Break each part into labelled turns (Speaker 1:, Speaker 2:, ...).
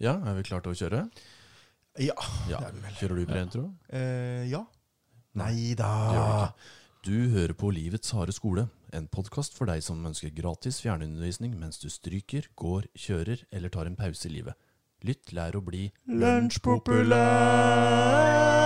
Speaker 1: Ja, er vi klare til å kjøre?
Speaker 2: Ja.
Speaker 1: Ja,
Speaker 2: Det er vi vel.
Speaker 1: Kjører du pre-intro?
Speaker 2: Eh, ja. Nei
Speaker 1: Det gjør vi ikke.
Speaker 2: da.
Speaker 1: Du hører på Livets harde skole, en podkast for deg som ønsker gratis fjernundervisning mens du stryker, går, kjører eller tar en pause i livet. Lytt, lær å bli
Speaker 2: Lunsjpopulær!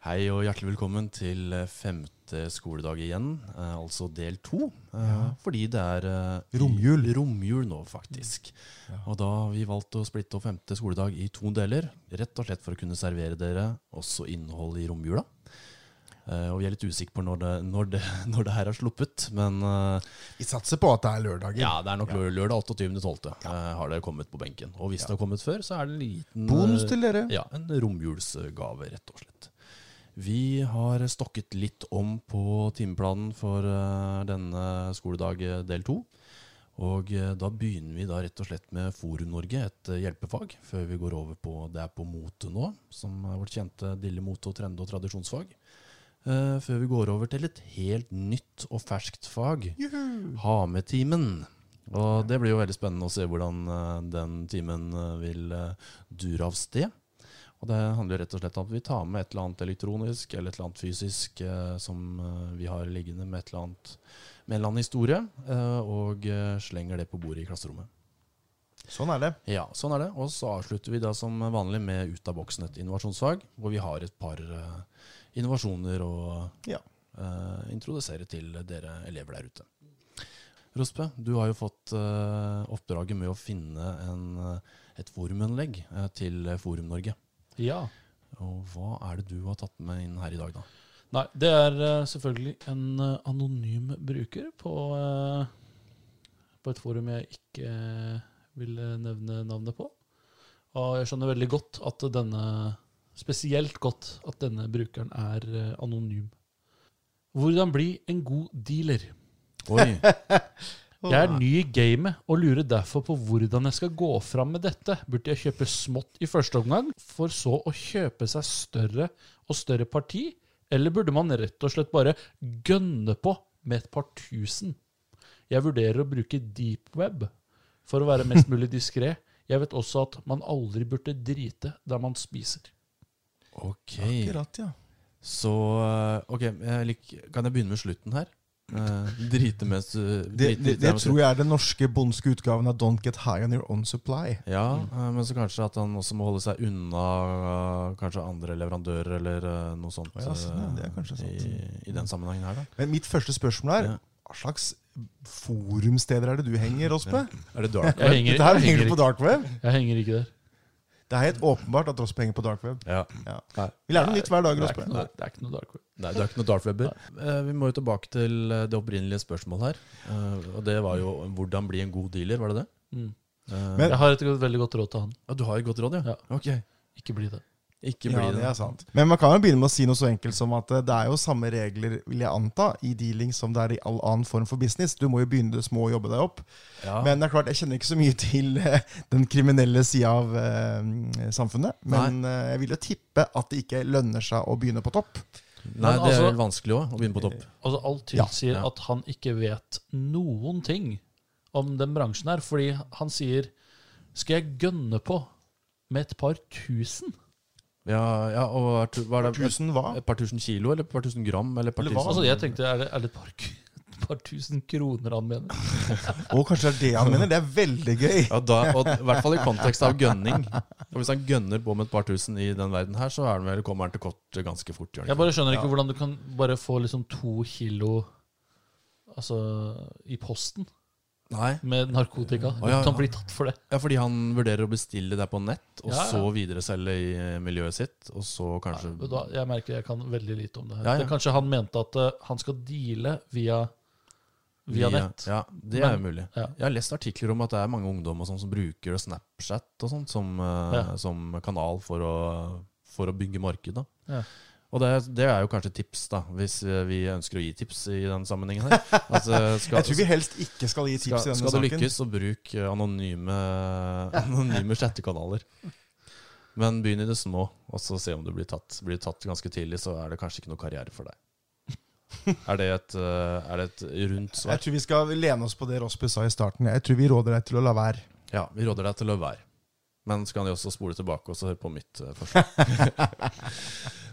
Speaker 1: Hei og hjertelig velkommen til eh, femte skoledag igjen, eh, altså del to. eh, Fordi det er eh,
Speaker 2: Romjul.
Speaker 1: romjul nå, faktisk. Og da har vi valgt å splitte opp femte skoledag i to deler, rett og slett for å kunne servere dere også innhold i romjula. Eh, og vi er litt usikre på når det, når, det, når det her er sluppet, men eh,
Speaker 2: Vi satser på at det er lørdager.
Speaker 1: ja, det er nok lø- lørdag 28.12. eh, har det kommet på benken. Og hvis det har kommet før, så er det en liten
Speaker 2: Bonus
Speaker 1: eh,
Speaker 2: til dere.
Speaker 1: ja, en romjulsgave, rett og slett. Vi har stokket litt om på timeplanen for eh, denne skoledag eh, del to. Og eh, da begynner vi da rett og slett med Forum Norge, et eh, hjelpefag, før vi går over på det er på mote nå, som er vårt kjente Dille mote og trende- og tradisjonsfag. Eh, før vi går over til et helt nytt og ferskt fag, Hametimen. Og det blir jo veldig spennende å se hvordan eh, den timen eh, vil eh, dure av sted. Og det handler rett og slett om at vi tar med et eller annet elektronisk eller et eller annet fysisk eh, som eh, vi har liggende med, et eller annet, med en eller annen historie, eh, og eh, slenger det på bordet i klasserommet.
Speaker 2: Sånn er det.
Speaker 1: Ja, sånn er det. Og så avslutter vi da som vanlig med Ut av boksen, et innovasjonsfag, hvor vi har et par eh, innovasjoner å
Speaker 2: Ja.
Speaker 1: eh, introdusere til dere elever der ute. Rospe, du har jo fått eh, oppdraget med å finne en, eh, et forumanlegg eh, til Forum Norge.
Speaker 3: Ja.
Speaker 1: Og hva er det du har tatt med inn her i dag, da?
Speaker 3: Nei, det er eh, selvfølgelig en eh, anonym bruker på, eh, på et forum jeg ikke eh, vil nevne navnet på. Og jeg skjønner veldig godt at denne Spesielt godt at denne brukeren er eh, anonym. Hvordan bli en god dealer?
Speaker 1: Oi,
Speaker 3: Jeg er ny i gamet og lurer derfor på hvordan jeg skal gå fram med dette. Burde jeg kjøpe smått i første omgang, for så å kjøpe seg større og større parti? Eller burde man rett og slett bare gønne på med et par tusen? Jeg vurderer å bruke deep web for å være mest mulig diskré. Jeg vet også at man aldri burde drite der man spiser.
Speaker 1: ok.
Speaker 2: Akkurat, ja.
Speaker 1: Så eh, ok, jeg lik, kan jeg begynne med slutten her? Eh, drite mens du
Speaker 2: Det, det, det tror jeg er den norske bondske utgaven av Don't Get High On Your Own Supply.
Speaker 1: Ja, eh, men så kanskje at han også må holde seg unna eh, kanskje andre leverandører eller eh, noe sånt.
Speaker 2: Å ja, sånn, ja,
Speaker 1: eh,
Speaker 2: det er kanskje sant.
Speaker 1: I, I den sammenhengen her, da.
Speaker 2: Men mitt første spørsmål er
Speaker 1: Ja.
Speaker 2: hva slags forumsteder er det du henger, Rospe?
Speaker 1: Er det dark?
Speaker 3: Jeg henger,
Speaker 2: Dette her
Speaker 3: jeg
Speaker 2: henger
Speaker 3: henger,
Speaker 2: du på dark web.
Speaker 3: ikke- jeg henger ikke der.
Speaker 2: Det er helt åpenbart at Rospe henger på dark web.
Speaker 1: Ja.
Speaker 2: Ja.
Speaker 1: Nei.
Speaker 2: Vi lærer noe nytt hver dag,
Speaker 3: Det er
Speaker 2: Rospe.
Speaker 3: ikke noe, det er ikke noe dark web.
Speaker 1: Nei, det er ikke noe Darth Webber. Eh, Vi må jo tilbake til eh, det opprinnelige spørsmålet her. Eh, Og det var jo hvordan bli en god dealer, var det det?
Speaker 3: Mm.
Speaker 1: Eh,
Speaker 2: Men-
Speaker 3: Jeg har et godt- veldig godt råd til han.
Speaker 1: ja, du har et godt råd, ja?
Speaker 3: Ja.
Speaker 1: Ok.
Speaker 3: Ikke bli det.
Speaker 1: Ikke bli
Speaker 2: ja, det
Speaker 1: det.
Speaker 2: er sant. Men man kan jo begynne med å si noe så enkelt som at eh, det er jo samme regler, vil jeg anta, i dealing som det er i all annen form for business. Du må jo begynne det små og jobbe deg opp.
Speaker 1: Ja.
Speaker 2: Men det er klart, jeg kjenner ikke så mye til eh, den kriminelle sida av eh, samfunnet. Men eh, jeg vil jo tippe at det ikke lønner seg å begynne på topp.
Speaker 1: Nei, det er
Speaker 3: altså-
Speaker 1: vel vanskelig òg, å begynne på
Speaker 2: Eh,
Speaker 1: topp.
Speaker 3: Altså, alt tilsier
Speaker 1: Ja, ja.
Speaker 3: at han ikke vet noen ting om den bransjen her, fordi han sier Skal jeg gønne på med et par tusen?
Speaker 1: Ja, ja og er tu- hva er det? Et,
Speaker 2: Tusen hva?
Speaker 1: et par tusen kilo, eller et par tusen gram? Eller et par
Speaker 2: Eller hva?
Speaker 1: tusen
Speaker 3: Altså, jeg tenkte, er det, er det et, par, k- et par tusen kroner han mener?
Speaker 2: Og kanskje det er det han mener? Det er veldig gøy.
Speaker 1: Ja, da, og I hvert fall i kontekst av gønning. Og Hvis han gønner på med et par tusen i den verden her, så er han vel, kommer han til kort ganske fort. gjør han
Speaker 3: Jeg
Speaker 1: ikke?
Speaker 3: bare skjønner ikke hvordan du kan bare få liksom to kilo Altså, i posten
Speaker 1: Nei.
Speaker 3: med narkotika.
Speaker 1: Å, ja,
Speaker 3: Uten
Speaker 1: ja.
Speaker 3: å bli tatt for det.
Speaker 1: Ja, fordi han vurderer å bestille det på nett, og
Speaker 3: Ja, ja.
Speaker 1: så videreselge i eh, miljøet sitt, og så kanskje
Speaker 3: Vet du hva, Jeg merker jeg kan veldig lite om det her.
Speaker 1: Ja, ja.
Speaker 3: Det er Kanskje han mente at eh, han skal deale via, via nett.
Speaker 1: Ja, det er
Speaker 3: Men-
Speaker 1: mulig.
Speaker 3: ja.
Speaker 1: Jeg har lest artikler om at det er mange ungdom og sånn som bruker Snapchat og sånt som, eh,
Speaker 3: Ja.
Speaker 1: som kanal for å, for å bygge marked. Da.
Speaker 3: Ja.
Speaker 1: Og det, det er jo kanskje tips, da, hvis eh, vi ønsker å gi tips i den sammenhengen her. Altså, skal,
Speaker 2: Jeg tror vi helst ikke skal gi tips
Speaker 1: skal,
Speaker 2: i denne
Speaker 1: skal du
Speaker 2: saken.
Speaker 1: lykkes, så bruk eh, anonyme, anonyme chattekanaler. Men begynn i det små, og så se om du blir tatt. Blir du tatt ganske tidlig, så er det kanskje ikke noe karriere for deg. er, det et, eh, er det et rundt
Speaker 2: Jeg
Speaker 1: svar?
Speaker 2: tror vi skal lene oss på det Rosby sa i starten. Jeg tror vi råder deg til å la være.
Speaker 1: Ja, vi råder deg til å la være. Men så kan de også spole tilbake og så høre på mitt eh, forslag.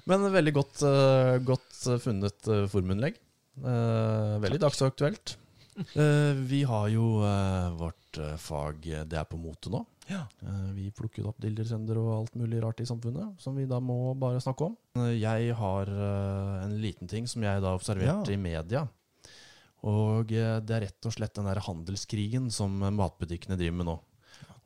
Speaker 1: Men veldig godt, eh, godt eh, funnet uh, formunnlegg. Eh, veldig dagsaktuelt. Eh, vi har jo eh, vårt eh, fag eh, Det er på mote nå. Eh, vi plukker opp dildersender og alt mulig rart i samfunnet, som vi da må bare snakke om. Eh, jeg har eh, en liten ting som jeg da observerte
Speaker 2: Ja.
Speaker 1: i media. Og eh, det er rett og slett den der handelskrigen som eh, matbutikkene driver med nå.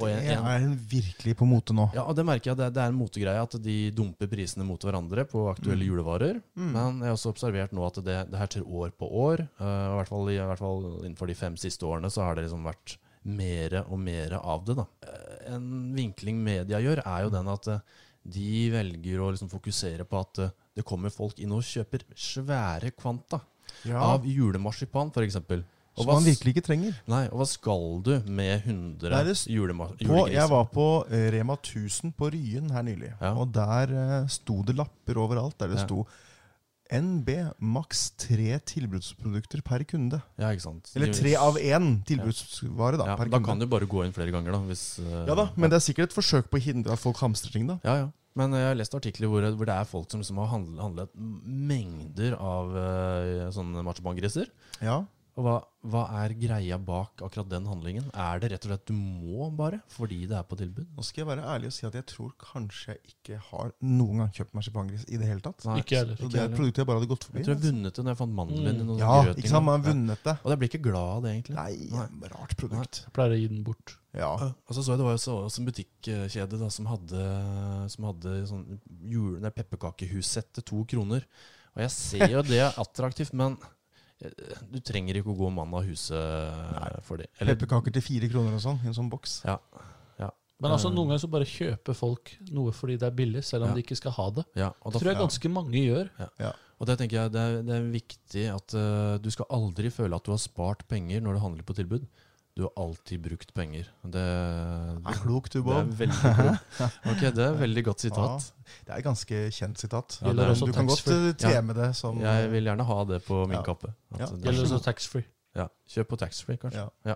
Speaker 1: Og en-
Speaker 2: Jeg
Speaker 1: en-
Speaker 2: er virkelig på mote nå.
Speaker 1: ja, og det merker jeg. Det, det er en motegreie at de dumper prisene mot hverandre på
Speaker 2: Mm.
Speaker 1: aktuelle julevarer. Men jeg har også observert nå at det, det her skjer år på år. eh, og i hvert, fall, i, I hvert fall innenfor de fem siste årene så har det liksom vært mere og mere av det. da. Eh, En vinkling media gjør, er jo den at eh, de velger å liksom fokusere på at eh, det kommer folk inn og kjøper svære kvanta av julemarsipan, f.eks.
Speaker 2: Som man virkelig ikke trenger.
Speaker 1: Nei, og hva skal du med 100
Speaker 2: Det er det s-
Speaker 1: julema-
Speaker 2: På, jeg
Speaker 1: julegriser?
Speaker 2: var på eh, Rema 1000 på Ryen her nylig,
Speaker 1: liksom. Ja.
Speaker 2: og der eh, sto det lapper overalt. Der det
Speaker 1: Ja.
Speaker 2: sto NB maks tre tilbudsprodukter per kunde.
Speaker 1: Ja, ikke sant?
Speaker 2: Eller
Speaker 1: De-
Speaker 2: tre av én tilbudsvare da,
Speaker 1: Ja,
Speaker 2: per
Speaker 1: da kan
Speaker 2: kunde.
Speaker 1: du bare gå inn flere ganger, da. Hvis, eh,
Speaker 2: Ja da, Men det er sikkert et forsøk på å hindre at folk hamstrer ting. da.
Speaker 1: ja, ja. Men jeg har lest artikler hvor, hvor det er folk som liksom har handlet, handlet mengder av eh, sånne marsipangriser.
Speaker 2: Ja,
Speaker 1: Og hva, hva er greia bak akkurat den handlingen? Er det rett og slett du må bare fordi det er på tilbud?
Speaker 2: Nå skal jeg være ærlig og si at jeg tror kanskje jeg ikke har noen gang kjøpt marsipangris i det hele tatt.
Speaker 1: Nei,
Speaker 3: Ikke jeg heller.
Speaker 2: Så det er et
Speaker 1: heller.
Speaker 2: produkt jeg bare hadde gått forbi.
Speaker 1: Jeg tror jeg vunnet det når jeg fant mandelen i
Speaker 3: Mm.
Speaker 1: noen
Speaker 2: ja,
Speaker 1: grøt
Speaker 2: ikke
Speaker 1: en
Speaker 2: sant?
Speaker 1: gang.
Speaker 2: Man har
Speaker 1: Ja.
Speaker 2: vunnet det.
Speaker 1: Og jeg blir ikke glad av det, egentlig.
Speaker 2: Nei, rart produkt.
Speaker 3: Jeg pleier å gi den bort.
Speaker 2: Ja.
Speaker 1: Ja, Og så så jeg det var jo så, også en butikkjede da, som hadde, som hadde sånn jule- nei, pepperkakehussett til to kroner. Og jeg ser jo det er attraktivt, men eh, du trenger ikke å gå mann av huset eh, for det. Eller,
Speaker 2: Pepperkaker til fire kroner og sånn, i en sånn boks.
Speaker 3: Men altså,
Speaker 1: Eh.
Speaker 3: noen ganger så bare kjøper folk noe fordi det er billig, selv om
Speaker 1: Ja.
Speaker 3: de ikke skal ha det.
Speaker 1: ja, og,
Speaker 3: Det tror
Speaker 1: da,
Speaker 3: jeg ganske mange gjør.
Speaker 1: og det tenker jeg det er, det er viktig at eh, du skal aldri føle at du har spart penger når du handler på tilbud. Du har alltid brukt penger. Det, det,
Speaker 2: Klok du,
Speaker 1: det er
Speaker 2: Bob.
Speaker 1: veldig klokt. Ok, det er veldig godt sitat.
Speaker 2: Det er et ganske kjent sitat.
Speaker 1: Ja, det er
Speaker 2: Men
Speaker 3: også
Speaker 2: du kan godt
Speaker 3: taxfree.
Speaker 2: eh, tema det som eh,
Speaker 1: Jeg vil gjerne ha det på min
Speaker 2: Ja.
Speaker 1: kappe. At
Speaker 2: Ja.
Speaker 1: det er
Speaker 3: Gjelder
Speaker 1: så-
Speaker 3: også taxfree.
Speaker 1: Ja, kjøp på taxfree, kanskje.
Speaker 2: ja.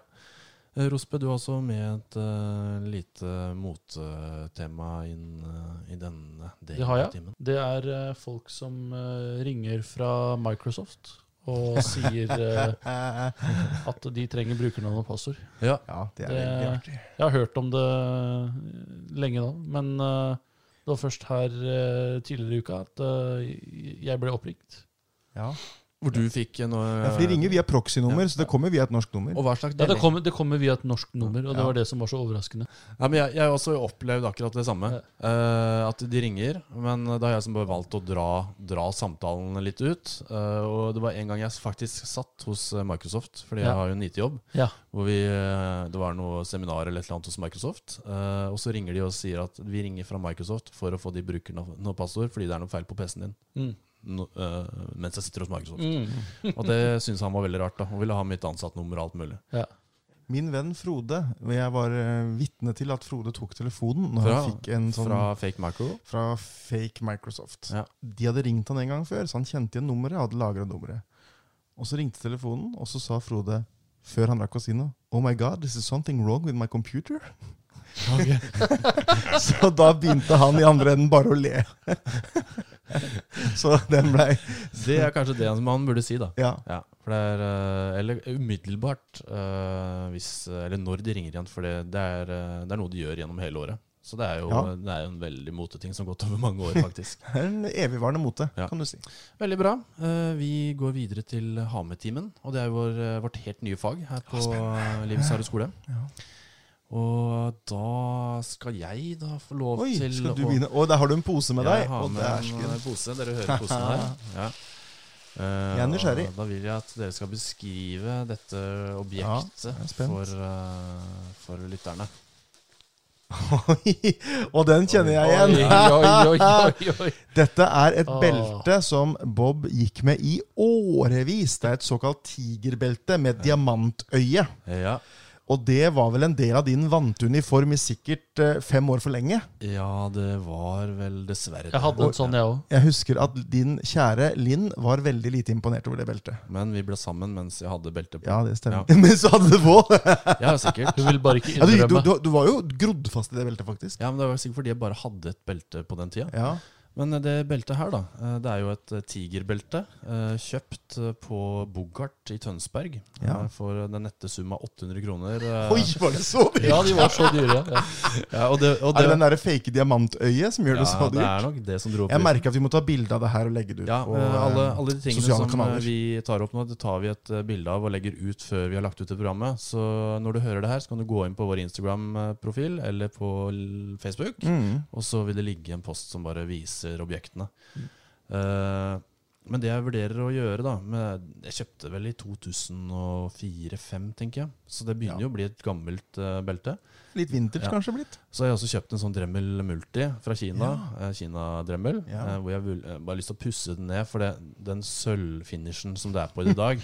Speaker 1: Eh, Rospe, du har også med et eh, lite motetema inn eh, i denne delen
Speaker 3: Det har jeg.
Speaker 1: av timen.
Speaker 3: Det er eh, folk som eh, ringer fra Microsoft og sier eh,
Speaker 2: Eh,
Speaker 3: at de trenger brukernavn og passord.
Speaker 1: Ja,
Speaker 2: ja, det er
Speaker 3: Det-
Speaker 2: veldig artig.
Speaker 3: Jeg har hørt om det eh, lenge nå, men eh, det var først her eh, tidligere i uka at eh, jeg ble oppringt.
Speaker 2: Ja.
Speaker 1: hvor du fikk en eh,
Speaker 2: Ja, for de ringer via proxy-nummer, så det kommer via et norsk nummer.
Speaker 1: Og hva slags
Speaker 3: Ja, det
Speaker 1: deling?
Speaker 3: kommer, det kommer via et norsk nummer, og det
Speaker 2: Ja.
Speaker 3: var det som var så overraskende.
Speaker 1: Ja, men jeg, jeg har også opplevd akkurat det samme. Eh, at de ringer, men da har jeg som bare valgt å dra, dra samtalen litt ut. Eh, og det var en gang jeg faktisk satt hos eh, Microsoft, fordi jeg
Speaker 3: Ja.
Speaker 1: har jo en IT-jobb.
Speaker 3: Ja.
Speaker 1: Hvor vi, eh, det var noe seminar eller et eller annet hos Microsoft. eh, og så ringer de og sier at vi ringer fra Microsoft for å få de brukernavn og passord fordi det er noe feil på PC-en din.
Speaker 3: Mm.
Speaker 1: No, eh, mens jeg sitter hos Microsoft.
Speaker 3: Mm.
Speaker 1: Og det syns han var veldig rart. da Og ville ha mitt ansattnummer og alt mulig.
Speaker 3: Ja.
Speaker 2: Min venn Frode, og jeg var eh, vitne til at Frode tok telefonen når
Speaker 1: Fra,
Speaker 2: han fikk en sånn
Speaker 1: fra Fake Macro.
Speaker 2: fra fake Microsoft.
Speaker 1: Ja.
Speaker 2: De hadde ringt han en gang før, så han kjente igjen nummeret. hadde lagret nummeret. Og Så ringte telefonen, og så sa Frode, før han rakk å si noe, Oh my god, this is something wrong with my computer. så da begynte han i andre enden bare å le. så den blei
Speaker 1: Det er kanskje det som han burde si, da.
Speaker 2: Ja.
Speaker 1: Ja, for det er eh, Eller umiddelbart, eh, hvis, eller når de ringer igjen. For det, det, er, eh, det er noe de gjør gjennom hele året. Så det er jo,
Speaker 2: Ja.
Speaker 1: det er jo en veldig moteting som har gått over mange år, faktisk.
Speaker 2: det er En evigvarende mote,
Speaker 1: Ja.
Speaker 2: kan du si.
Speaker 1: Veldig bra. Eh, Vi går videre til HAME-timen. Og det er vår, eh, vårt helt nye fag her på eh, Livets harde skole.
Speaker 2: Ja.
Speaker 1: Og da skal jeg da få lov
Speaker 2: Oi,
Speaker 1: til
Speaker 2: skal du begynne? Å, der har du en pose med deg.
Speaker 1: Jeg har
Speaker 2: Og der
Speaker 1: med
Speaker 2: skal
Speaker 1: en eh,
Speaker 2: den-
Speaker 1: pose. Dere hører posen her. Ja. Eh,
Speaker 2: Jeg er nysgjerrig.
Speaker 1: og Da vil jeg at dere skal beskrive dette objektet
Speaker 2: Ja, jeg er spent.
Speaker 1: for, eh, for lytterne.
Speaker 2: Oi, og den kjenner jeg igjen.
Speaker 3: Oi, oi, oi, oi, oi.
Speaker 2: Dette er et
Speaker 3: Åh.
Speaker 2: belte som Bob gikk med i årevis. Det er et såkalt tigerbelte med diamantøye.
Speaker 1: Ja.
Speaker 2: Og det var vel en del av din vante uniform i sikkert eh, fem år for lenge.
Speaker 1: Ja, det var vel dessverre
Speaker 3: Jeg hadde en sånn, jeg òg.
Speaker 2: Jeg husker at din kjære Linn var veldig lite imponert over det beltet.
Speaker 1: Men vi ble sammen mens jeg hadde belte på.
Speaker 2: Ja, det stemmer. Men så hadde du på!
Speaker 1: Ja, sikkert.
Speaker 3: Hun ville bare ikke
Speaker 2: Ja, du, du, du,
Speaker 3: innrømme.
Speaker 2: du var jo grodd fast i det beltet, faktisk.
Speaker 1: Ja, men Det var sikkert fordi jeg bare hadde et belte på den tida.
Speaker 2: Ja.
Speaker 1: Men det beltet her, da. eh, Det er jo et eh, tigerbelte. eh, Kjøpt eh, på Bogart i Tønsberg eh,
Speaker 2: Ja.
Speaker 1: for den nette sum av 800 kroner. eh.
Speaker 2: Oi, var det så dyrt?
Speaker 3: Ja, de var så dyre. Ja.
Speaker 1: Ja, og det, og
Speaker 2: Er
Speaker 1: det,
Speaker 2: det den derre fake diamantøyet som gjør det så
Speaker 1: ja, det er
Speaker 2: dyrt?
Speaker 1: nok det som dro opp
Speaker 2: Jeg
Speaker 1: prisen.
Speaker 2: merker at vi må ta bilde av det her og legge det ut
Speaker 1: Ja,
Speaker 2: på
Speaker 1: eh, alle,
Speaker 2: eh,
Speaker 1: alle de tingene
Speaker 2: sosiale
Speaker 1: som eh,
Speaker 2: kanaler.
Speaker 1: vi tar opp nå, det tar vi et eh, bilde av og legger ut før vi har lagt ut det programmet. Så når du hører det her, så kan du gå inn på vår Instagram-profil eller på l- Facebook.
Speaker 2: mm.
Speaker 1: Og så vil det ligge en post som bare viser objektene.
Speaker 2: Mm.
Speaker 1: Eh, men det jeg vurderer å gjøre, da med, Jeg kjøpte vel i 2004-2005, tenker jeg. Så det begynner
Speaker 2: Ja.
Speaker 1: jo å bli et gammelt eh, belte.
Speaker 2: Litt vintage
Speaker 1: Ja.
Speaker 2: kanskje blitt.
Speaker 1: Så har jeg også kjøpt en sånn Dremel Multi fra Kina. eh, Kina-dremel.
Speaker 2: Ja.
Speaker 1: eh, Hvor jeg vil, eh, bare har lyst til å pusse den ned, for det, den sølvfinishen som det er på i dag,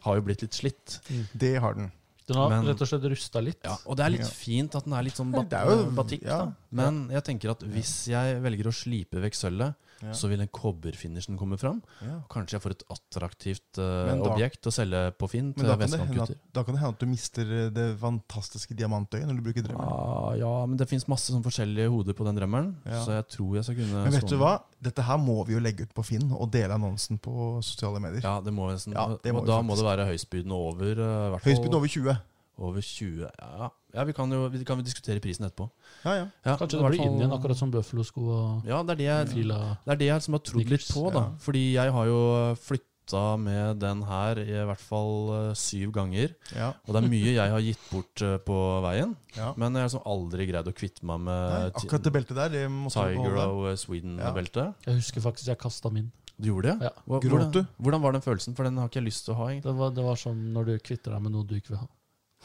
Speaker 1: har jo blitt litt slitt.
Speaker 2: Det har den.
Speaker 3: Den har
Speaker 1: Men-
Speaker 3: rett og slett rusta litt.
Speaker 1: Ja, og det er
Speaker 2: Ja.
Speaker 1: litt fint at den er litt sånn bat
Speaker 2: Det er jo-
Speaker 1: batikk,
Speaker 2: ja.
Speaker 1: da. Men jeg tenker at hvis jeg velger å slipe vekk sølvet,
Speaker 2: Ja.
Speaker 1: så vil den kobberfinishen komme fram. Og kanskje jeg får et attraktivt eh,
Speaker 2: Men da-
Speaker 1: objekt å selge på Finn
Speaker 2: Men
Speaker 1: til
Speaker 2: da kan, det hende at,
Speaker 1: vestkantgutter.
Speaker 2: da kan det hende at du mister eh, det fantastiske diamantøyet når du bruker drømmen.
Speaker 1: Ah, ja, men det fins masse sånn forskjellige hoder på den drømmeren,
Speaker 2: Ja.
Speaker 1: så jeg tror jeg skal kunne
Speaker 2: Men vet
Speaker 1: stå
Speaker 2: du
Speaker 1: med-
Speaker 2: hva? Dette her må vi jo legge ut på Finn og dele annonsen på sosiale medier.
Speaker 1: Ja, det må nesten
Speaker 2: Ja, det må
Speaker 1: og
Speaker 2: vi
Speaker 1: Da
Speaker 2: faktisk.
Speaker 1: må det være høystbydende over. eh, i hvert fall
Speaker 2: Høystbydende over 20.
Speaker 1: over 20. Ja, ja vi kan jo vi kan jo diskutere prisen etterpå.
Speaker 2: Ja, ja.
Speaker 1: Ja, i
Speaker 3: Kanskje det
Speaker 1: hvert
Speaker 3: blir
Speaker 1: fall-
Speaker 3: inn igjen, akkurat som Buffalo-sko og
Speaker 1: Ja, det er det jeg
Speaker 3: fila.
Speaker 1: Det er det jeg som har trodd litt
Speaker 3: Snickers,
Speaker 1: på, da.
Speaker 2: ja.
Speaker 1: Fordi jeg har jo flytta med den her i hvert fall eh, syv ganger.
Speaker 2: ja,
Speaker 1: Og det er mye jeg har gitt bort eh, på veien.
Speaker 2: ja.
Speaker 1: Men jeg har liksom aldri greid å kvitte meg
Speaker 2: Nei,
Speaker 1: med ti-
Speaker 2: akkurat det beltet der, det måtte vi
Speaker 1: Tiger
Speaker 2: beholde.
Speaker 1: of
Speaker 2: Ja.
Speaker 1: Sweden-beltet.
Speaker 3: Jeg husker faktisk jeg kasta min.
Speaker 1: Du gjorde det?
Speaker 3: Ja.
Speaker 1: Hva-
Speaker 2: Gråt
Speaker 1: Hvordan,
Speaker 2: du?
Speaker 1: hvordan var den følelsen? For den har ikke jeg lyst til å ha, egentlig.
Speaker 3: Det var, det var som når du kvitter deg med noe du ikke vil ha.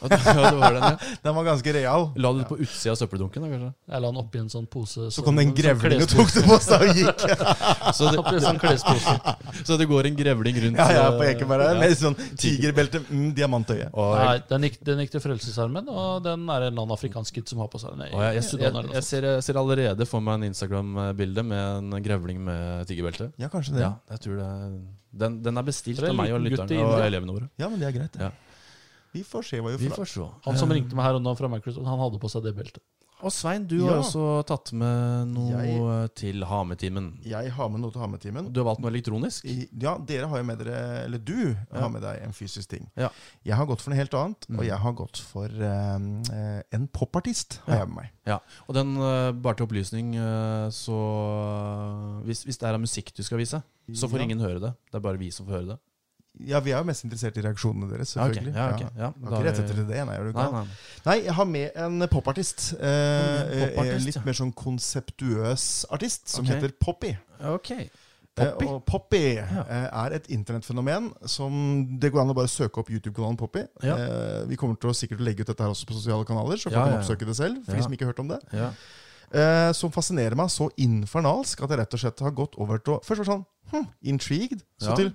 Speaker 1: Ja, det var den, ja.
Speaker 2: Den var ganske real.
Speaker 1: La du det på utsida av søppeldunken, da, kanskje?
Speaker 3: Jeg la den oppi en sånn pose.
Speaker 2: Så kom det en
Speaker 3: som-
Speaker 2: grevling og
Speaker 3: som
Speaker 2: tok det på seg og gikk.
Speaker 1: Så det,
Speaker 3: klespose. Oppi en sånn klespose.
Speaker 1: Så det går en grevling rundt
Speaker 2: Ja, ja, på
Speaker 1: eh,
Speaker 2: Ekeberg.
Speaker 1: ja.
Speaker 2: Med sånn tigerbelte, mm, diamantøye.
Speaker 1: Og jeg,
Speaker 3: Nei, den gikk, den gikk til Frelsesarmeen, og den er en eller annen afrikansk kid som har på seg den.
Speaker 1: og jeg, altså. jeg,
Speaker 3: Sudan eller
Speaker 1: jeg,
Speaker 3: noe
Speaker 1: jeg,
Speaker 3: sånt.
Speaker 1: ser, jeg ser allerede for meg en Instagram-bilde med en grevling med tiggerbelte.
Speaker 2: Ja, kanskje det.
Speaker 1: Ja, jeg tror det Den, den er bestilt
Speaker 3: Det er
Speaker 1: av
Speaker 3: en
Speaker 1: meg og
Speaker 3: liten gutt i
Speaker 1: lytteren og
Speaker 3: India.
Speaker 1: elevene våre.
Speaker 2: Ja, men det er greit. det.
Speaker 1: Ja.
Speaker 2: Vi får se hva vi
Speaker 1: Vi
Speaker 2: får.
Speaker 1: får se.
Speaker 3: Han som ringte meg her og nå fra Microsoft, han hadde på seg det beltet.
Speaker 1: Og Svein, du
Speaker 2: Ja.
Speaker 1: har også tatt med noe
Speaker 2: Jeg-
Speaker 1: til Hametimen.
Speaker 2: Jeg har med noe til å ha med timen.
Speaker 1: Du har valgt noe elektronisk?
Speaker 2: I- Ja, dere har jo med dere, eller du har med deg en fysisk ting.
Speaker 1: Ja.
Speaker 2: Jeg har gått for noe helt annet,
Speaker 1: Mm.
Speaker 2: og jeg har gått for eh, eh, en popartist. har
Speaker 1: Ja.
Speaker 2: jeg med meg.
Speaker 1: Ja. Og den, eh, bare til opplysning, eh, så hvis, hvis det er av musikk du skal vise, så får
Speaker 2: Ja.
Speaker 1: ingen høre det. Det er bare vi som får høre det.
Speaker 2: Ja, Vi er jo mest interessert i reaksjonene deres,
Speaker 1: Ja, ok.
Speaker 2: selvfølgelig.
Speaker 1: Ja, ok. Ja,
Speaker 2: Du
Speaker 1: da
Speaker 2: Ah, har ikke rett
Speaker 1: vi-
Speaker 2: etter det, nei, er du
Speaker 1: Nei,
Speaker 2: gal?
Speaker 1: nei.
Speaker 2: Nei, jeg har med en popartist. Eh,
Speaker 1: en
Speaker 2: eh,
Speaker 1: popartist,
Speaker 2: litt
Speaker 1: ja.
Speaker 2: mer sånn konseptuøs artist, som
Speaker 1: Ok.
Speaker 2: heter Poppy.
Speaker 1: Ok.
Speaker 2: Eh,
Speaker 1: Poppy?
Speaker 2: og Poppy
Speaker 1: Ja.
Speaker 2: eh, er et internettfenomen som Det går an å bare søke opp YouTube-kanalen Poppy.
Speaker 1: Ja.
Speaker 2: Eh, vi kommer til å sikkert legge ut dette her også på sosiale kanaler, så
Speaker 1: Ja, ja,
Speaker 2: folk kan
Speaker 1: ja.
Speaker 2: oppsøke det selv. For
Speaker 1: Ja.
Speaker 2: de som ikke har hørt om det
Speaker 1: Ja.
Speaker 2: eh, Som fascinerer meg så infernalsk at jeg rett og slett har gått over til å Først var det sånn hm, intrigued, så
Speaker 1: Ja.
Speaker 2: til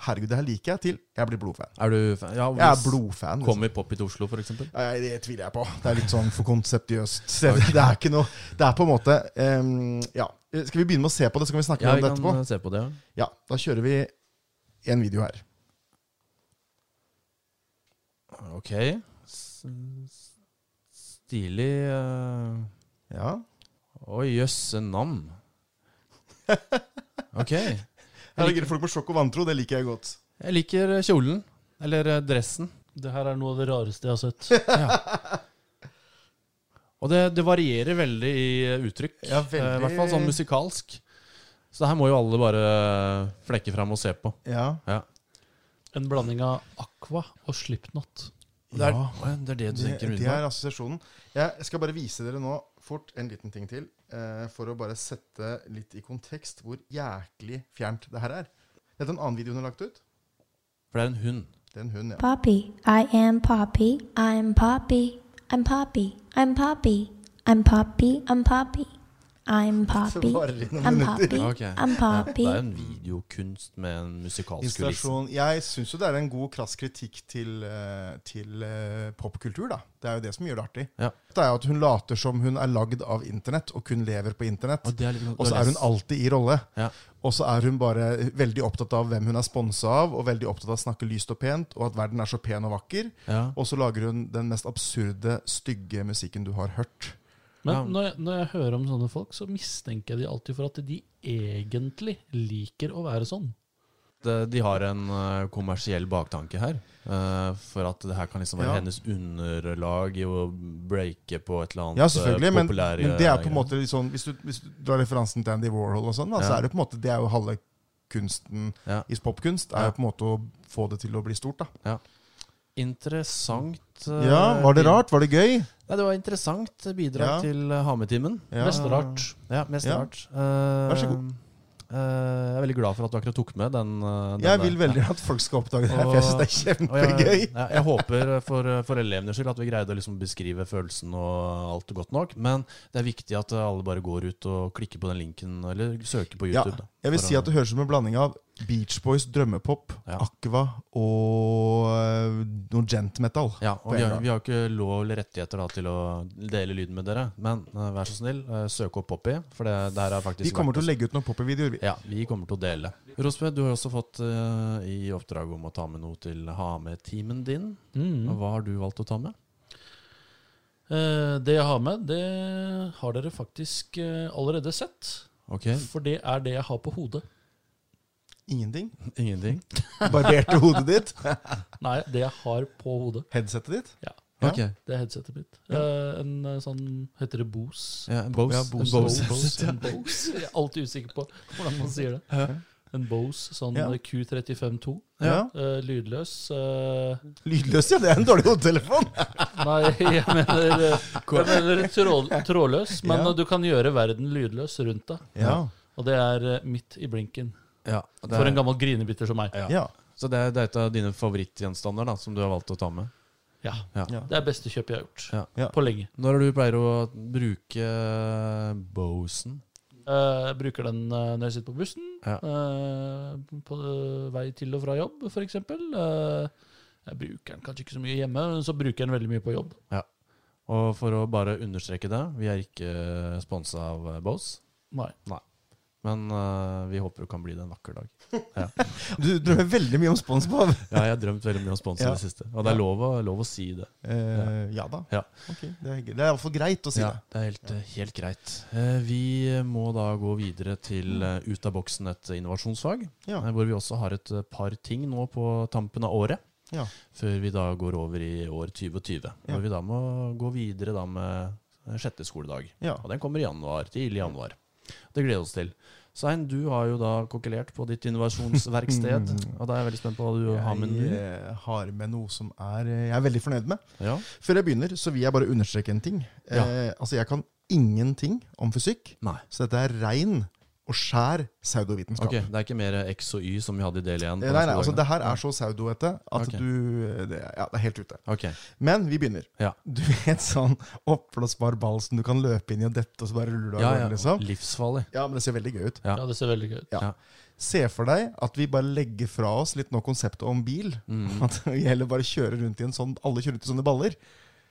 Speaker 2: Herregud, det her liker jeg, til jeg blir blodfan.
Speaker 1: Er du fan? Ja,
Speaker 2: Jeg er
Speaker 1: hvis-
Speaker 2: blodfan. liksom.
Speaker 1: Kommer Poppy til Oslo, for eksempel?
Speaker 2: Nei, det tviler jeg på. Det er litt sånn for konseptiøst. Det, det er ikke noe Det er på en måte ehm, Ja. Skal vi begynne med å se på det, så kan vi snakke
Speaker 1: Ja,
Speaker 2: mer
Speaker 1: vi
Speaker 2: om det etterpå?
Speaker 1: kan eh, se på det. ja.
Speaker 2: Ja, da kjører vi en video her.
Speaker 1: Ok. S s- stilig eh,
Speaker 2: Ja.
Speaker 1: Oi, jøsse nam. Ok. Jeg
Speaker 2: Her ligger det folk på sjokk og vantro. Det liker jeg godt.
Speaker 1: liker eh, kjolen. Eller eh, dressen.
Speaker 3: Det her er noe av det rareste jeg har sett.
Speaker 1: Og det, det varierer veldig i eh, uttrykk.
Speaker 2: Ja,
Speaker 1: Eh, I
Speaker 2: veldig-
Speaker 1: hvert fall sånn musikalsk. Så det her må jo alle bare eh, flekke fram og se på.
Speaker 2: Ja.
Speaker 1: Ja.
Speaker 3: En blanding av Aqua og Slipknot.
Speaker 1: Det er,
Speaker 2: Ja.
Speaker 1: Oi, det, er det du
Speaker 2: Det,
Speaker 1: tenker
Speaker 2: det er
Speaker 1: umiddelbart?
Speaker 2: assosiasjonen. Jeg skal bare vise dere nå fort en liten ting til. eh, for å bare sette litt i kontekst hvor jæklig fjernt det her er. Dette er en annen video hun har lagt ut.
Speaker 1: For det er en hund.
Speaker 2: Det er en hund, ja.
Speaker 4: Poppy. I am Poppy. I'm Poppy. I'm Poppy. I'm Poppy. I'm Poppy. I'm Poppy. I'm Poppy.
Speaker 2: Varer i noen
Speaker 4: I'm
Speaker 2: minutter.
Speaker 4: Poppy.
Speaker 1: Ok.
Speaker 4: I'm Poppy.
Speaker 1: Det er jo en videokunst med en musikalsk kulisse.
Speaker 2: Installasjon. Jeg syns jo det er en god, krass kritikk til, eh, til eh, popkultur, da. Det er jo det som gjør det artig.
Speaker 1: Ja.
Speaker 2: Det er jo at hun later som hun er lagd av internett, og kun lever på internett.
Speaker 1: Og det er litt-
Speaker 2: Og så er hun alltid i rolle.
Speaker 1: Ja.
Speaker 2: Og så er hun bare veldig opptatt av hvem hun er sponsa av, og veldig opptatt av å snakke lyst og pent, og at verden er så pen og vakker.
Speaker 1: ja.
Speaker 2: Og så lager hun den mest absurde, stygge musikken du har hørt.
Speaker 1: Ja.
Speaker 3: Men når jeg, når jeg hører om sånne folk, så mistenker jeg de alltid for at de egentlig liker å være sånn.
Speaker 1: det- de har en eh, kommersiell baktanke her. eh, for at det her kan liksom være
Speaker 2: Ja.
Speaker 1: hennes underlag i å breake på et eller annet
Speaker 2: Ja, selvfølgelig,
Speaker 1: eh,
Speaker 2: men,
Speaker 1: populære
Speaker 2: men det er på
Speaker 1: greier.
Speaker 2: en måte litt sånn Hvis du, hvis du drar referansen til Andy Warhol og sånn, da, så
Speaker 1: Ja.
Speaker 2: er det på en måte Det er jo halve kunsten
Speaker 1: Ja.
Speaker 2: i popkunst.
Speaker 1: Ja.
Speaker 2: Er jo på en måte å få det til å bli stort, da.
Speaker 1: Interessant. eh,
Speaker 2: Ja, var det
Speaker 1: bid-
Speaker 2: rart? Var det gøy?
Speaker 1: Nei, det var interessant bidrag
Speaker 2: Ja.
Speaker 1: til eh, Hametimen.
Speaker 2: Ja.
Speaker 3: Mest rart.
Speaker 1: Ja, mest
Speaker 2: Ja.
Speaker 1: rart. Eh,
Speaker 2: Vær så god.
Speaker 1: eh, jeg er veldig glad for at du akkurat tok med den. eh, den
Speaker 2: Jeg
Speaker 1: der.
Speaker 2: vil veldig at folk skal oppdage det her, for jeg syns det er
Speaker 1: Og jeg,
Speaker 2: kjempegøy.
Speaker 1: ja, jeg håper for, for elevenes skyld at vi greide å liksom beskrive følelsen og alt godt nok. Men det er viktig at alle bare går ut og klikker på den linken, eller søker på
Speaker 2: Ja,
Speaker 1: YouTube. da.
Speaker 2: jeg vil
Speaker 1: For
Speaker 2: si
Speaker 1: å-
Speaker 2: at det høres ut som en blanding av Beach Boys, drømmepop,
Speaker 1: Ja.
Speaker 2: Aqua og øh, noe gent metal.
Speaker 1: ja, og
Speaker 2: på
Speaker 1: vi har,
Speaker 2: en gang.
Speaker 1: vi har ikke lov eller rettigheter da, til å dele lyden med dere, men eh, vær så snill, eh, søk opp Poppy. For det, det her er faktisk
Speaker 2: Vi kommer til
Speaker 1: verdt
Speaker 2: å legge ut noen poppy-videoer. vi.
Speaker 1: Ja, vi kommer til å dele. Rosme, du har også fått eh, i oppdrag om å ta med noe til ha med-teamen din.
Speaker 3: Mm.
Speaker 1: Hva har du valgt å ta med?
Speaker 3: Eh, det jeg har med, det har dere faktisk eh, allerede sett.
Speaker 1: Ok,
Speaker 3: For det er det jeg har på hodet.
Speaker 2: Ingenting.
Speaker 1: ingenting.
Speaker 2: Barberte hodet ditt.
Speaker 3: Nei, det jeg har på hodet.
Speaker 2: Headsetet ditt.
Speaker 3: Ja,
Speaker 2: Ja.
Speaker 1: Ok,
Speaker 3: Det er headsetet mitt. Eh, en eh, sånn Heter det Bose?
Speaker 1: ja, Bose.
Speaker 2: Ja, Bose.
Speaker 1: Bose.
Speaker 3: Bose, en Bose. Jeg er alltid usikker på hvordan man sier det. En Bose sånn
Speaker 2: Ja.
Speaker 3: Q352.
Speaker 2: Ja.
Speaker 3: eh, lydløs. eh,
Speaker 2: Lydløs, ja. Det er en dårlig hodetelefon.
Speaker 3: nei, jeg mener, eh, jeg mener tråd, trådløs. Men
Speaker 2: Ja.
Speaker 3: eh, du kan gjøre verden lydløs rundt deg.
Speaker 2: Ja.
Speaker 3: Og det er eh, midt i blinken.
Speaker 1: Ja, det
Speaker 3: For
Speaker 1: er-
Speaker 3: en gammel grinebiter som meg.
Speaker 1: Ja.
Speaker 2: ja.
Speaker 1: Så det er, det er et av dine favorittgjenstander da, som du har valgt å ta med.
Speaker 3: Ja.
Speaker 1: Ja.
Speaker 2: Ja.
Speaker 3: Det er beste kjøpet jeg har gjort.
Speaker 1: Ja.
Speaker 2: Ja.
Speaker 3: På lenge.
Speaker 1: Når er det du pleier å bruke Bosen?
Speaker 3: Eh, Jeg bruker den eh, når jeg sitter på bussen,
Speaker 1: Ja.
Speaker 3: eh, på eh, vei til og fra jobb f.eks. Jeg bruker den kanskje ikke så mye hjemme, men så bruker jeg den veldig mye på jobb.
Speaker 1: Og for å bare understreke det, vi er ikke sponsa av eh, Bose,
Speaker 3: Nei.
Speaker 1: men eh, vi håper det kan bli det en vakker dag.
Speaker 2: Du drømmer veldig mye om spons på.
Speaker 1: Ja, jeg har drømt veldig mye om spons i
Speaker 2: Ja.
Speaker 1: det siste, og det er lov å, lov å si det.
Speaker 2: Eh, ja da.
Speaker 1: Ja.
Speaker 2: Ok, det er, det er iallfall greit å si
Speaker 1: Ja,
Speaker 2: det.
Speaker 1: det er helt, helt greit. Eh, Vi må da gå videre til eh, Ut av boksen, et innovasjonsfag.
Speaker 2: Ja.
Speaker 1: Eh, Hvor vi også har et eh, par ting nå på tampen av året.
Speaker 2: Ja.
Speaker 1: Før vi da går over i år 2020.
Speaker 2: Ja.
Speaker 1: Hvor vi da må gå videre da med eh, sjette skoledag.
Speaker 2: Ja.
Speaker 1: Og den kommer i januar. Tidlig i januar. Det gleder vi oss til. Svein, du har jo da kokkelert på ditt innovasjonsverksted. og da er jeg veldig spent på hva du har med
Speaker 2: Mm. Jeg
Speaker 1: nå.
Speaker 2: eh, har med noe som er, eh, jeg er veldig fornøyd med.
Speaker 1: Ja.
Speaker 2: Før jeg begynner, så vil jeg bare understreke en ting.
Speaker 1: Ja.
Speaker 2: Eh, altså, Jeg kan ingenting om fysikk,
Speaker 1: Nei.
Speaker 2: så dette er rein og skjær pseudovitenskap.
Speaker 1: Ok, Det er ikke mer X og Y som vi hadde i del igjen?
Speaker 2: Eh, Nei, nei, altså Det her er så saudoete at
Speaker 1: Ok.
Speaker 2: du eh, det, Ja, det er helt ute.
Speaker 1: Ok,
Speaker 2: Men vi begynner.
Speaker 1: ja.
Speaker 2: Du vet sånn oppblåsbar ball som du kan løpe inn i og dette, og så bare ruller du av
Speaker 1: Ja,
Speaker 2: gårde,
Speaker 1: ja.
Speaker 2: liksom?
Speaker 1: Livsfarlig.
Speaker 2: Ja, men det ser veldig gøy ut.
Speaker 1: Ja.
Speaker 3: Ja, det ser veldig gøy ut.
Speaker 2: Ja. Se for deg at vi bare legger fra oss litt nå konseptet om bil.
Speaker 1: Mm.
Speaker 2: At vi heller bare kjører rundt i en sånn Alle kjører rundt i sånne baller.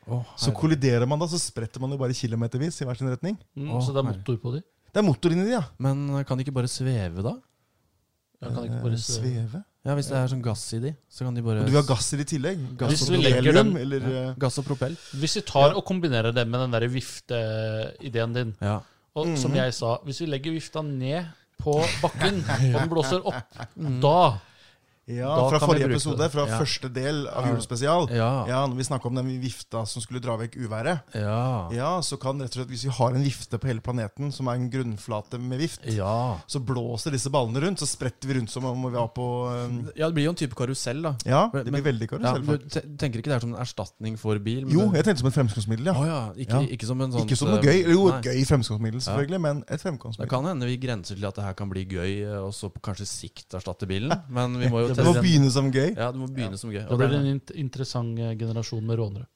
Speaker 1: Åh,
Speaker 2: Så kolliderer man da, så spretter man jo bare kilometervis i hver sin retning.
Speaker 3: Mm,
Speaker 1: Å,
Speaker 3: så det er
Speaker 1: nei.
Speaker 3: motor på de.
Speaker 2: Det er motor inni de, ja.
Speaker 1: Men eh, kan de ikke bare sveve, da?
Speaker 3: Jeg kan ikke
Speaker 2: Eh,
Speaker 3: bare se.
Speaker 2: Sveve.
Speaker 1: Ja, Hvis det er sånn gass i de, så kan de bare
Speaker 2: Og du vil ha gass i det i tillegg. Gass
Speaker 3: Hvis
Speaker 2: og
Speaker 3: vi legger
Speaker 2: helium,
Speaker 3: den-
Speaker 2: eller
Speaker 1: ja.
Speaker 2: eh,
Speaker 1: Gass og propell.
Speaker 3: Hvis vi tar og kombinerer det med den der vifteideen din
Speaker 1: Ja.
Speaker 3: Og som
Speaker 1: Mhm.
Speaker 3: jeg sa, hvis vi legger vifta ned på bakken, og den blåser opp,
Speaker 1: Mhm.
Speaker 3: da
Speaker 2: Ja,
Speaker 3: Da
Speaker 2: eh, fra
Speaker 3: kan vi
Speaker 2: forrige
Speaker 3: bruke
Speaker 2: episode,
Speaker 3: det.
Speaker 2: fra
Speaker 1: Ja.
Speaker 2: første del av Julespesial.
Speaker 1: Ja.
Speaker 2: Ja, når vi snakka om den vifta som skulle dra vekk uværet.
Speaker 1: Ja.
Speaker 2: Ja, så kan rett og slett, Hvis vi har en vifte på hele planeten som er en grunnflate med vift,
Speaker 1: ja.
Speaker 2: så blåser disse ballene rundt, så spretter vi rundt som om vi var på eh,
Speaker 1: Ja, det blir jo en type karusell, da.
Speaker 2: Ja, det
Speaker 1: Men-
Speaker 2: blir veldig
Speaker 1: Ja,
Speaker 2: karusell.
Speaker 1: du
Speaker 2: faktisk.
Speaker 1: te- tenker ikke det er som en erstatning for bil? men
Speaker 2: jo,
Speaker 1: det-
Speaker 2: jeg tenkte som et fremskrittsmiddel,
Speaker 1: Å
Speaker 2: ja.
Speaker 1: ja. Ikke,
Speaker 2: Ja.
Speaker 1: ikke som en sånn
Speaker 2: Ikke som noe gøy. eller Jo,
Speaker 1: Nei.
Speaker 2: et gøy fremskrittsmiddel, selvfølgelig, men et
Speaker 1: Det
Speaker 2: fremkomstmiddel.
Speaker 1: kan hende vi grenser til at det her kan bli gøy, eh, og så på kanskje sikt erstatte bilen. Men vi må jo
Speaker 2: Det må
Speaker 1: teste
Speaker 2: begynne som gøy.
Speaker 1: Ja, det må begynne som gøy.
Speaker 3: Da
Speaker 1: Og
Speaker 3: blir
Speaker 1: det
Speaker 3: det
Speaker 1: er-
Speaker 3: en int- interessant eh, generasjon med rånere.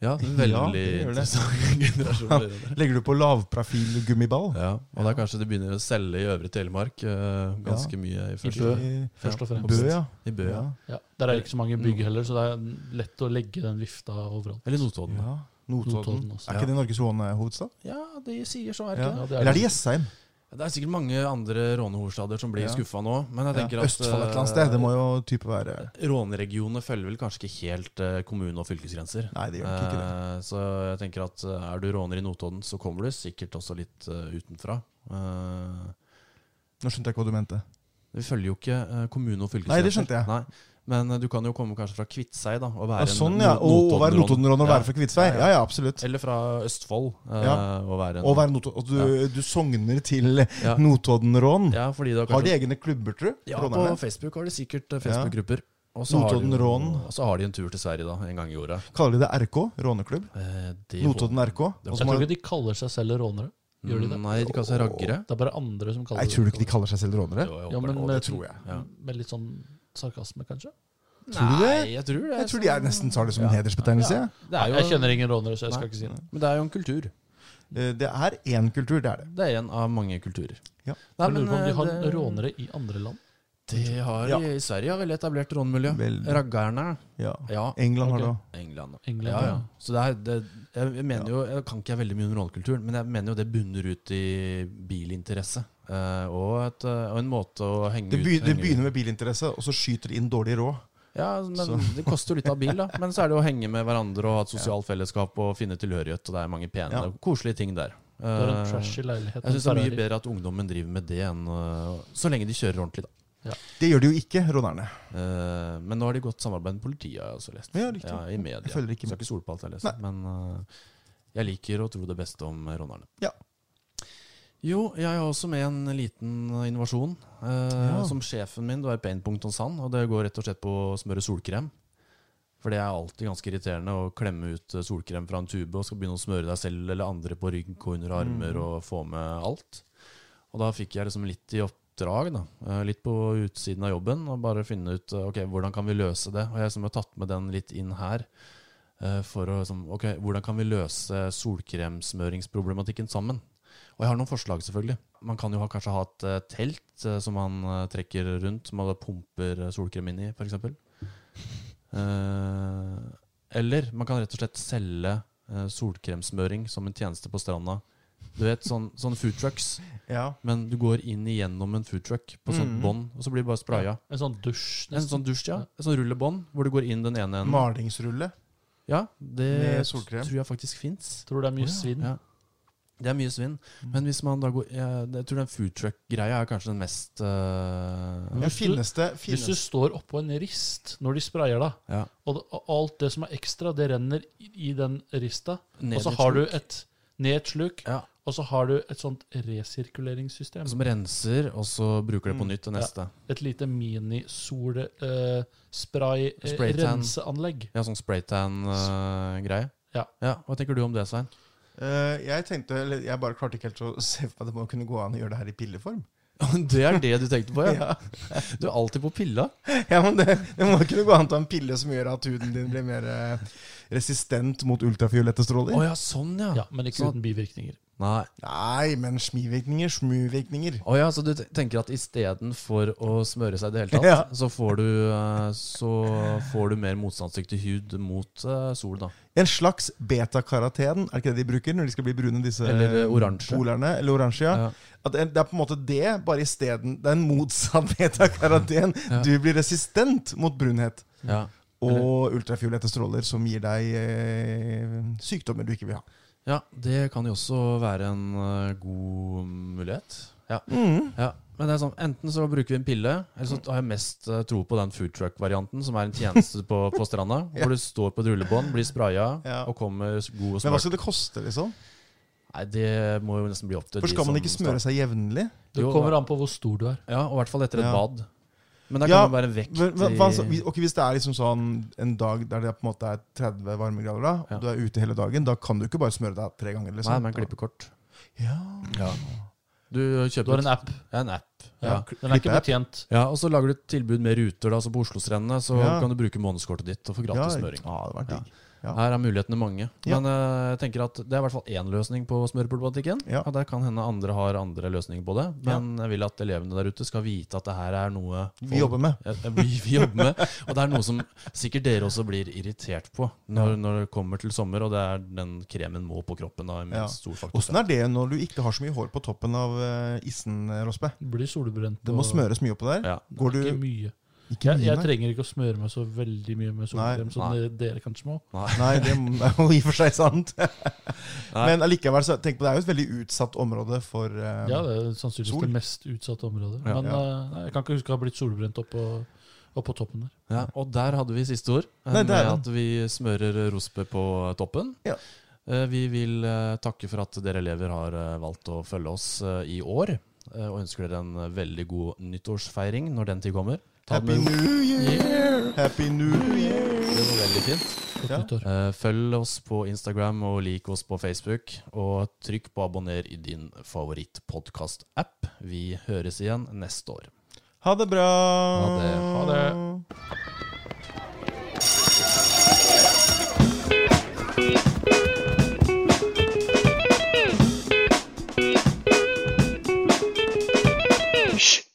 Speaker 1: Ja, det er
Speaker 2: Ja,
Speaker 1: veldig
Speaker 2: det gjør det.
Speaker 1: interessant generasjon. dere.
Speaker 2: Legger du på lavprofilgummiball?
Speaker 1: Ja, og det er kanskje de begynner å selge i Øvre Telemark eh, ganske mye i
Speaker 3: I Bø.
Speaker 1: første
Speaker 3: Først og
Speaker 1: Ja,
Speaker 3: fremst.
Speaker 2: Bø, ja.
Speaker 1: I Bø, ja. Mhm.
Speaker 2: ja.
Speaker 3: Ja, der er det ikke så mange bygg heller, så det er lett å legge den vifta overalt.
Speaker 1: Eller Notodden.
Speaker 2: ja. Notodden.
Speaker 3: Notodden også.
Speaker 2: Er ikke det Norges rånehovedstad?
Speaker 1: Ja, de sier så,
Speaker 2: Ja.
Speaker 3: Ja, det er
Speaker 2: Eller er
Speaker 3: det.
Speaker 2: det Jessheim?
Speaker 1: Det er sikkert mange andre rånehovedstader som blir
Speaker 2: Ja.
Speaker 1: skuffa nå. Men jeg
Speaker 2: Ja.
Speaker 1: tenker at
Speaker 2: Østfold et eller annet sted. Det må jo type være
Speaker 1: eh, Råneregionene følger vel kanskje ikke helt eh, kommune- og fylkesgrenser.
Speaker 2: Nei, det gjør nok ikke det.
Speaker 1: Eh, Så jeg tenker at eh, er du råner i Notodden, så kommer du sikkert også litt eh, utenfra. Eh,
Speaker 2: Nå skjønte jeg ikke hva du mente.
Speaker 1: Vi følger jo ikke eh, kommune- og fylkesgrenser.
Speaker 2: Nei, det skjønte jeg.
Speaker 1: Nei. Men eh, du kan jo komme kanskje fra Kviteseid da, og
Speaker 2: Ja,
Speaker 1: være
Speaker 2: sånn,
Speaker 1: en
Speaker 2: ja.
Speaker 1: no-
Speaker 2: Og være Notodden-råner og
Speaker 1: Ja.
Speaker 2: være fra Kvitsvei.
Speaker 1: Ja, ja.
Speaker 2: Ja, ja, absolutt.
Speaker 1: Eller fra Østfold. eh,
Speaker 2: Ja.
Speaker 1: Og være en
Speaker 2: Og være Notodden. Og du, du sogner til
Speaker 1: Ja.
Speaker 2: Notodden-rån.
Speaker 1: Ja, fordi det er
Speaker 2: Har de
Speaker 1: kanskje,
Speaker 2: egne klubber, tru?
Speaker 1: ja, på
Speaker 2: Rånerne?
Speaker 1: Facebook har de sikkert eh, Facebook-grupper. Og så har de
Speaker 2: Notodden
Speaker 1: jo-
Speaker 2: Rån.
Speaker 1: Og så har de en tur til Sverige da, en gang i året.
Speaker 2: Kaller de det RK? Råneklubb?
Speaker 1: Eh, det-
Speaker 2: Notodden RK? Og
Speaker 3: Jeg
Speaker 2: så må-
Speaker 3: tror ikke de kaller seg selv rånere. Gjør de det?
Speaker 1: Nei, de kaller seg raggere.
Speaker 3: Det er bare andre som kaller
Speaker 2: Nei, tror du ikke de kaller seg selv rånere?
Speaker 1: Jo, jeg
Speaker 3: Ja,
Speaker 1: håper
Speaker 3: men
Speaker 1: det.
Speaker 3: med,
Speaker 2: tror jeg.
Speaker 1: Ja.
Speaker 3: med litt sånn sarkasme, kanskje?
Speaker 2: Tror du det?
Speaker 1: Nei, jeg tror det.
Speaker 2: Jeg tror de er nesten tar det som en hedersbetegnelse. jeg.
Speaker 1: Det er jo,
Speaker 3: Jeg kjenner ingen rånere, så jeg skal
Speaker 1: Nei.
Speaker 3: ikke si noe.
Speaker 1: Men det er jo en kultur.
Speaker 2: Eh, Det er én kultur, det er det.
Speaker 1: Det er en av mange kulturer.
Speaker 2: Ja.
Speaker 1: Nei,
Speaker 3: Jeg lurer på om de har
Speaker 1: eh, det-
Speaker 3: rånere i andre land.
Speaker 1: De har
Speaker 2: Ja.
Speaker 1: i, I Sverige har veldig etablert rånmiljø.
Speaker 2: Veldig.
Speaker 1: Raggerne.
Speaker 2: Ja.
Speaker 1: Ja.
Speaker 2: England har
Speaker 3: Ok.
Speaker 2: det òg.
Speaker 1: England. da.
Speaker 3: England,
Speaker 1: Ja, ja.
Speaker 3: ja.
Speaker 1: Så det er, det, jeg, jeg mener jo Jeg kan ikke veldig mye om rånekulturen, men jeg mener jo det bunner ut i bilinteresse. eh, og, et, eh, og en måte å henge
Speaker 2: Det,
Speaker 1: ut
Speaker 2: begy- det
Speaker 1: henge-
Speaker 2: begynner med bilinteresse, og så skyter de inn dårlig råd.
Speaker 1: Ja, men
Speaker 2: Så.
Speaker 1: Det koster jo litt av bil, da. Men så er det jo å henge med hverandre og ha et sosialt fellesskap og finne tilhørighet. Og det er mange pene
Speaker 2: Ja.
Speaker 1: og koselige ting der.
Speaker 3: Det er en
Speaker 1: Eh,
Speaker 3: trashy leilighet.
Speaker 1: jeg syns det er
Speaker 3: med
Speaker 1: mye
Speaker 3: Ferrari.
Speaker 1: bedre at ungdommen driver med det, enn eh, så lenge de kjører ordentlig, da.
Speaker 2: Det gjør de jo ikke, rånerne.
Speaker 1: Eh, men nå har de godt samarbeid med politiet, har jeg også lest.
Speaker 2: Ja, riktig.
Speaker 1: I media.
Speaker 2: Jeg følger ikke
Speaker 1: Skal
Speaker 2: med.
Speaker 1: ikke stole på alt jeg leser, men eh, jeg liker å tro det beste om eh, rånerne.
Speaker 2: Ja.
Speaker 1: Jo, jeg har også med en liten eh, innovasjon. eh,
Speaker 2: Ja.
Speaker 1: Som sjefen min, det var Painpunkt on Sand, og det går rett og slett på å smøre solkrem. For det er alltid ganske irriterende å klemme ut eh, solkrem fra en tube og skal begynne å smøre deg selv eller andre på rygg og under armer og få med alt. Og da fikk jeg liksom litt i oppdrag, da. eh, Litt på utsiden av jobben, og bare finne ut eh, ok, hvordan kan vi løse det. Og jeg liksom har tatt med den litt inn her. eh, For å liksom, ok, hvordan kan vi løse solkremsmøringsproblematikken sammen? Og jeg har noen forslag, selvfølgelig. Man kan jo ha, kanskje ha et eh, telt eh, som man eh, trekker rundt, som man da pumper eh, solkrem inn i, f.eks. Eh, eller man kan rett og slett selge eh, solkremsmøring som en tjeneste på stranda. Du vet, sånn, sånne food trucks.
Speaker 2: Ja.
Speaker 1: Men du går inn igjennom en food truck på sånt
Speaker 2: Mm.
Speaker 1: bånd, og så blir det bare spraya.
Speaker 3: En sånn dusj.
Speaker 1: En sånn dusj, ja. En sånn rullebånd hvor du går inn den ene enden.
Speaker 2: Malingsrulle.
Speaker 1: Ja, det
Speaker 2: Med solkrem.
Speaker 1: tror jeg faktisk fins.
Speaker 3: Tror det er
Speaker 2: Å,
Speaker 3: mye
Speaker 2: ja.
Speaker 3: svinn. Mm.
Speaker 1: Ja. Det er mye svinn. Men hvis man da går Jeg, jeg tror den food truck-greia er kanskje den mest øh,
Speaker 2: Ja,
Speaker 3: Hvis du-
Speaker 2: finnes det
Speaker 3: Hvis
Speaker 2: finnes.
Speaker 3: du står oppå en rist når de sprayer deg,
Speaker 1: ja.
Speaker 3: og det- og alt det som er ekstra, det renner i i den rista,
Speaker 1: Ned
Speaker 3: og så
Speaker 1: i et
Speaker 3: har du
Speaker 1: sluk.
Speaker 3: et ned et sluk,
Speaker 1: Ja.
Speaker 3: og så har du et sånt resirkuleringssystem.
Speaker 1: Som renser, og så bruker det
Speaker 3: Mm.
Speaker 1: på nytt det neste.
Speaker 3: Et lite eh,
Speaker 1: Spraytan.
Speaker 3: mini-sol-spray-renseanlegg.
Speaker 1: Ja, sånn spraytan-greie.
Speaker 3: Ja.
Speaker 1: Hva tenker du om det, Svein?
Speaker 2: Eh, jeg tenkte, eller jeg bare klarte ikke helt å se for meg at det må kunne gå an å gjøre det her i pilleform.
Speaker 1: Det er det du tenkte på, ja?
Speaker 2: Ja,
Speaker 1: Du er alltid på pilla.
Speaker 2: ja men det, det må kunne gå an å ta en pille som gjør at huden din blir mer eh, resistent mot ultrafiolette
Speaker 1: Å
Speaker 2: stråler.
Speaker 1: ja, sånn, ja.
Speaker 3: Ja, men ikke
Speaker 1: Så-
Speaker 3: uten bivirkninger.
Speaker 1: Nei.
Speaker 2: Nei, men smivirkninger, smuvirkninger.
Speaker 1: Å ja, så du te- tenker at istedenfor å smøre seg i det hele tatt,
Speaker 2: Ja.
Speaker 1: så, får du, eh, så får du mer motstandsdyktig hud mot eh, sol, da.
Speaker 2: En slags beta-karoten, er ikke det de bruker når de skal bli brune, disse
Speaker 1: Eller, eh, oransje.
Speaker 2: polerne? Eller oransje, ja.
Speaker 1: Ja.
Speaker 2: At det det er på en måte det, bare isteden. Det er en motsatt beta-karoten.
Speaker 1: Ja.
Speaker 2: Du blir resistent mot brunhet
Speaker 1: Ja.
Speaker 2: og ultrafiolette stråler som gir deg eh, sykdommer du ikke vil ha.
Speaker 1: ja, det kan jo også være en eh, god mulighet. Ja.
Speaker 2: Mm.
Speaker 1: ja. Men det er sånn, enten så bruker vi en pille, eller så har jeg mest eh, tro på den food truck-varianten, som er en tjeneste på, på stranda,
Speaker 2: Ja.
Speaker 1: hvor du står på et rullebånd, blir spraya
Speaker 2: Ja.
Speaker 1: og kommer s- god og
Speaker 2: Men
Speaker 1: smart.
Speaker 2: hva skal det koste, liksom?
Speaker 1: Nei, det må jo nesten bli opp til
Speaker 2: For skal man ikke smøre
Speaker 1: starter.
Speaker 2: seg jevnlig?
Speaker 3: Det
Speaker 1: Jo,
Speaker 3: kommer an på hvor stor du er.
Speaker 1: Ja, og i hvert fall etter et
Speaker 2: Ja.
Speaker 1: bad. Men der
Speaker 2: Ja,
Speaker 1: kan det være vekt
Speaker 2: Hva, hva, så-
Speaker 1: i
Speaker 2: hvis- ok, hvis det er liksom sånn en dag der det på en måte er 30 varmegrader, da, og
Speaker 1: Ja.
Speaker 2: du er ute hele dagen, da kan du ikke bare smøre deg tre ganger. Liksom.
Speaker 1: Nei, men klippekort.
Speaker 2: Ja.
Speaker 1: Du kjøper
Speaker 3: Du har en app.
Speaker 1: Ja, en app. Ja.
Speaker 3: Ja. Den er ikke
Speaker 2: klippe-app.
Speaker 3: betjent.
Speaker 1: ja, Og så lager du et tilbud med ruter. Da, så på Oslo-strendene så
Speaker 2: Ja.
Speaker 1: kan du bruke månedskortet ditt og få gratis smøring.
Speaker 2: Ja, det var digg. Ja.
Speaker 1: Her er mulighetene mange.
Speaker 2: Ja.
Speaker 1: Men eh, jeg tenker at det er i hvert fall én løsning på smørproblematikken.
Speaker 2: Ja.
Speaker 1: Og det kan hende andre har andre løsninger på det. Men jeg vil at elevene der ute skal vite at det her er noe folk-
Speaker 2: Vi jobber med.
Speaker 1: Ja, vi, vi jobber med. Og det er noe som sikkert dere også blir irritert på når, når det kommer til sommer, og det er den kremen må på kroppen. da, i minst
Speaker 2: Ja.
Speaker 1: stor faktor.
Speaker 2: Åssen er det når du ikke har så mye hår på toppen av eh, issen, eh, Rospe?
Speaker 3: Blir solbrent.
Speaker 2: Det må
Speaker 3: og-
Speaker 2: smøres mye oppå der.
Speaker 1: Ja.
Speaker 2: Går du
Speaker 3: Ikke mye.
Speaker 2: ikke
Speaker 3: Jeg,
Speaker 2: mye?
Speaker 3: jeg
Speaker 2: nei?
Speaker 3: trenger ikke å smøre meg så veldig mye med solkrem som
Speaker 1: nei.
Speaker 3: dere, dere kanskje må.
Speaker 2: Nei, det er jo i og for seg sant. Men allikevel, så tenk på det er jo et veldig utsatt område for eh,
Speaker 3: Ja, det er sannsynligvis
Speaker 2: Sol.
Speaker 3: det mest utsatte området.
Speaker 1: Ja.
Speaker 3: Men eh, nei, jeg kan ikke huske å ha blitt solbrent oppå opp på toppen der.
Speaker 1: Ja, og der hadde vi siste ord. eh,
Speaker 2: Nei, det er
Speaker 1: med at vi smører rospe på toppen.
Speaker 2: Ja.
Speaker 1: Eh, Vi vil eh, takke for at dere elever har eh, valgt å følge oss eh, i år. eh, Og ønsker dere en eh, veldig god nyttårsfeiring når den tid kommer. Ta
Speaker 2: Happy
Speaker 1: den med ro.
Speaker 2: New Year! Happy New Year!
Speaker 1: Det var veldig fint.
Speaker 3: Godt
Speaker 2: Ja.
Speaker 3: nyttår.
Speaker 1: Eh, Følg oss på Instagram og lik oss på Facebook. Og trykk på abonner i din favorittpodkast-app. Vi høres igjen neste år.
Speaker 2: Ha det bra!
Speaker 1: Ha det.
Speaker 3: Ha det.
Speaker 5: Hysj!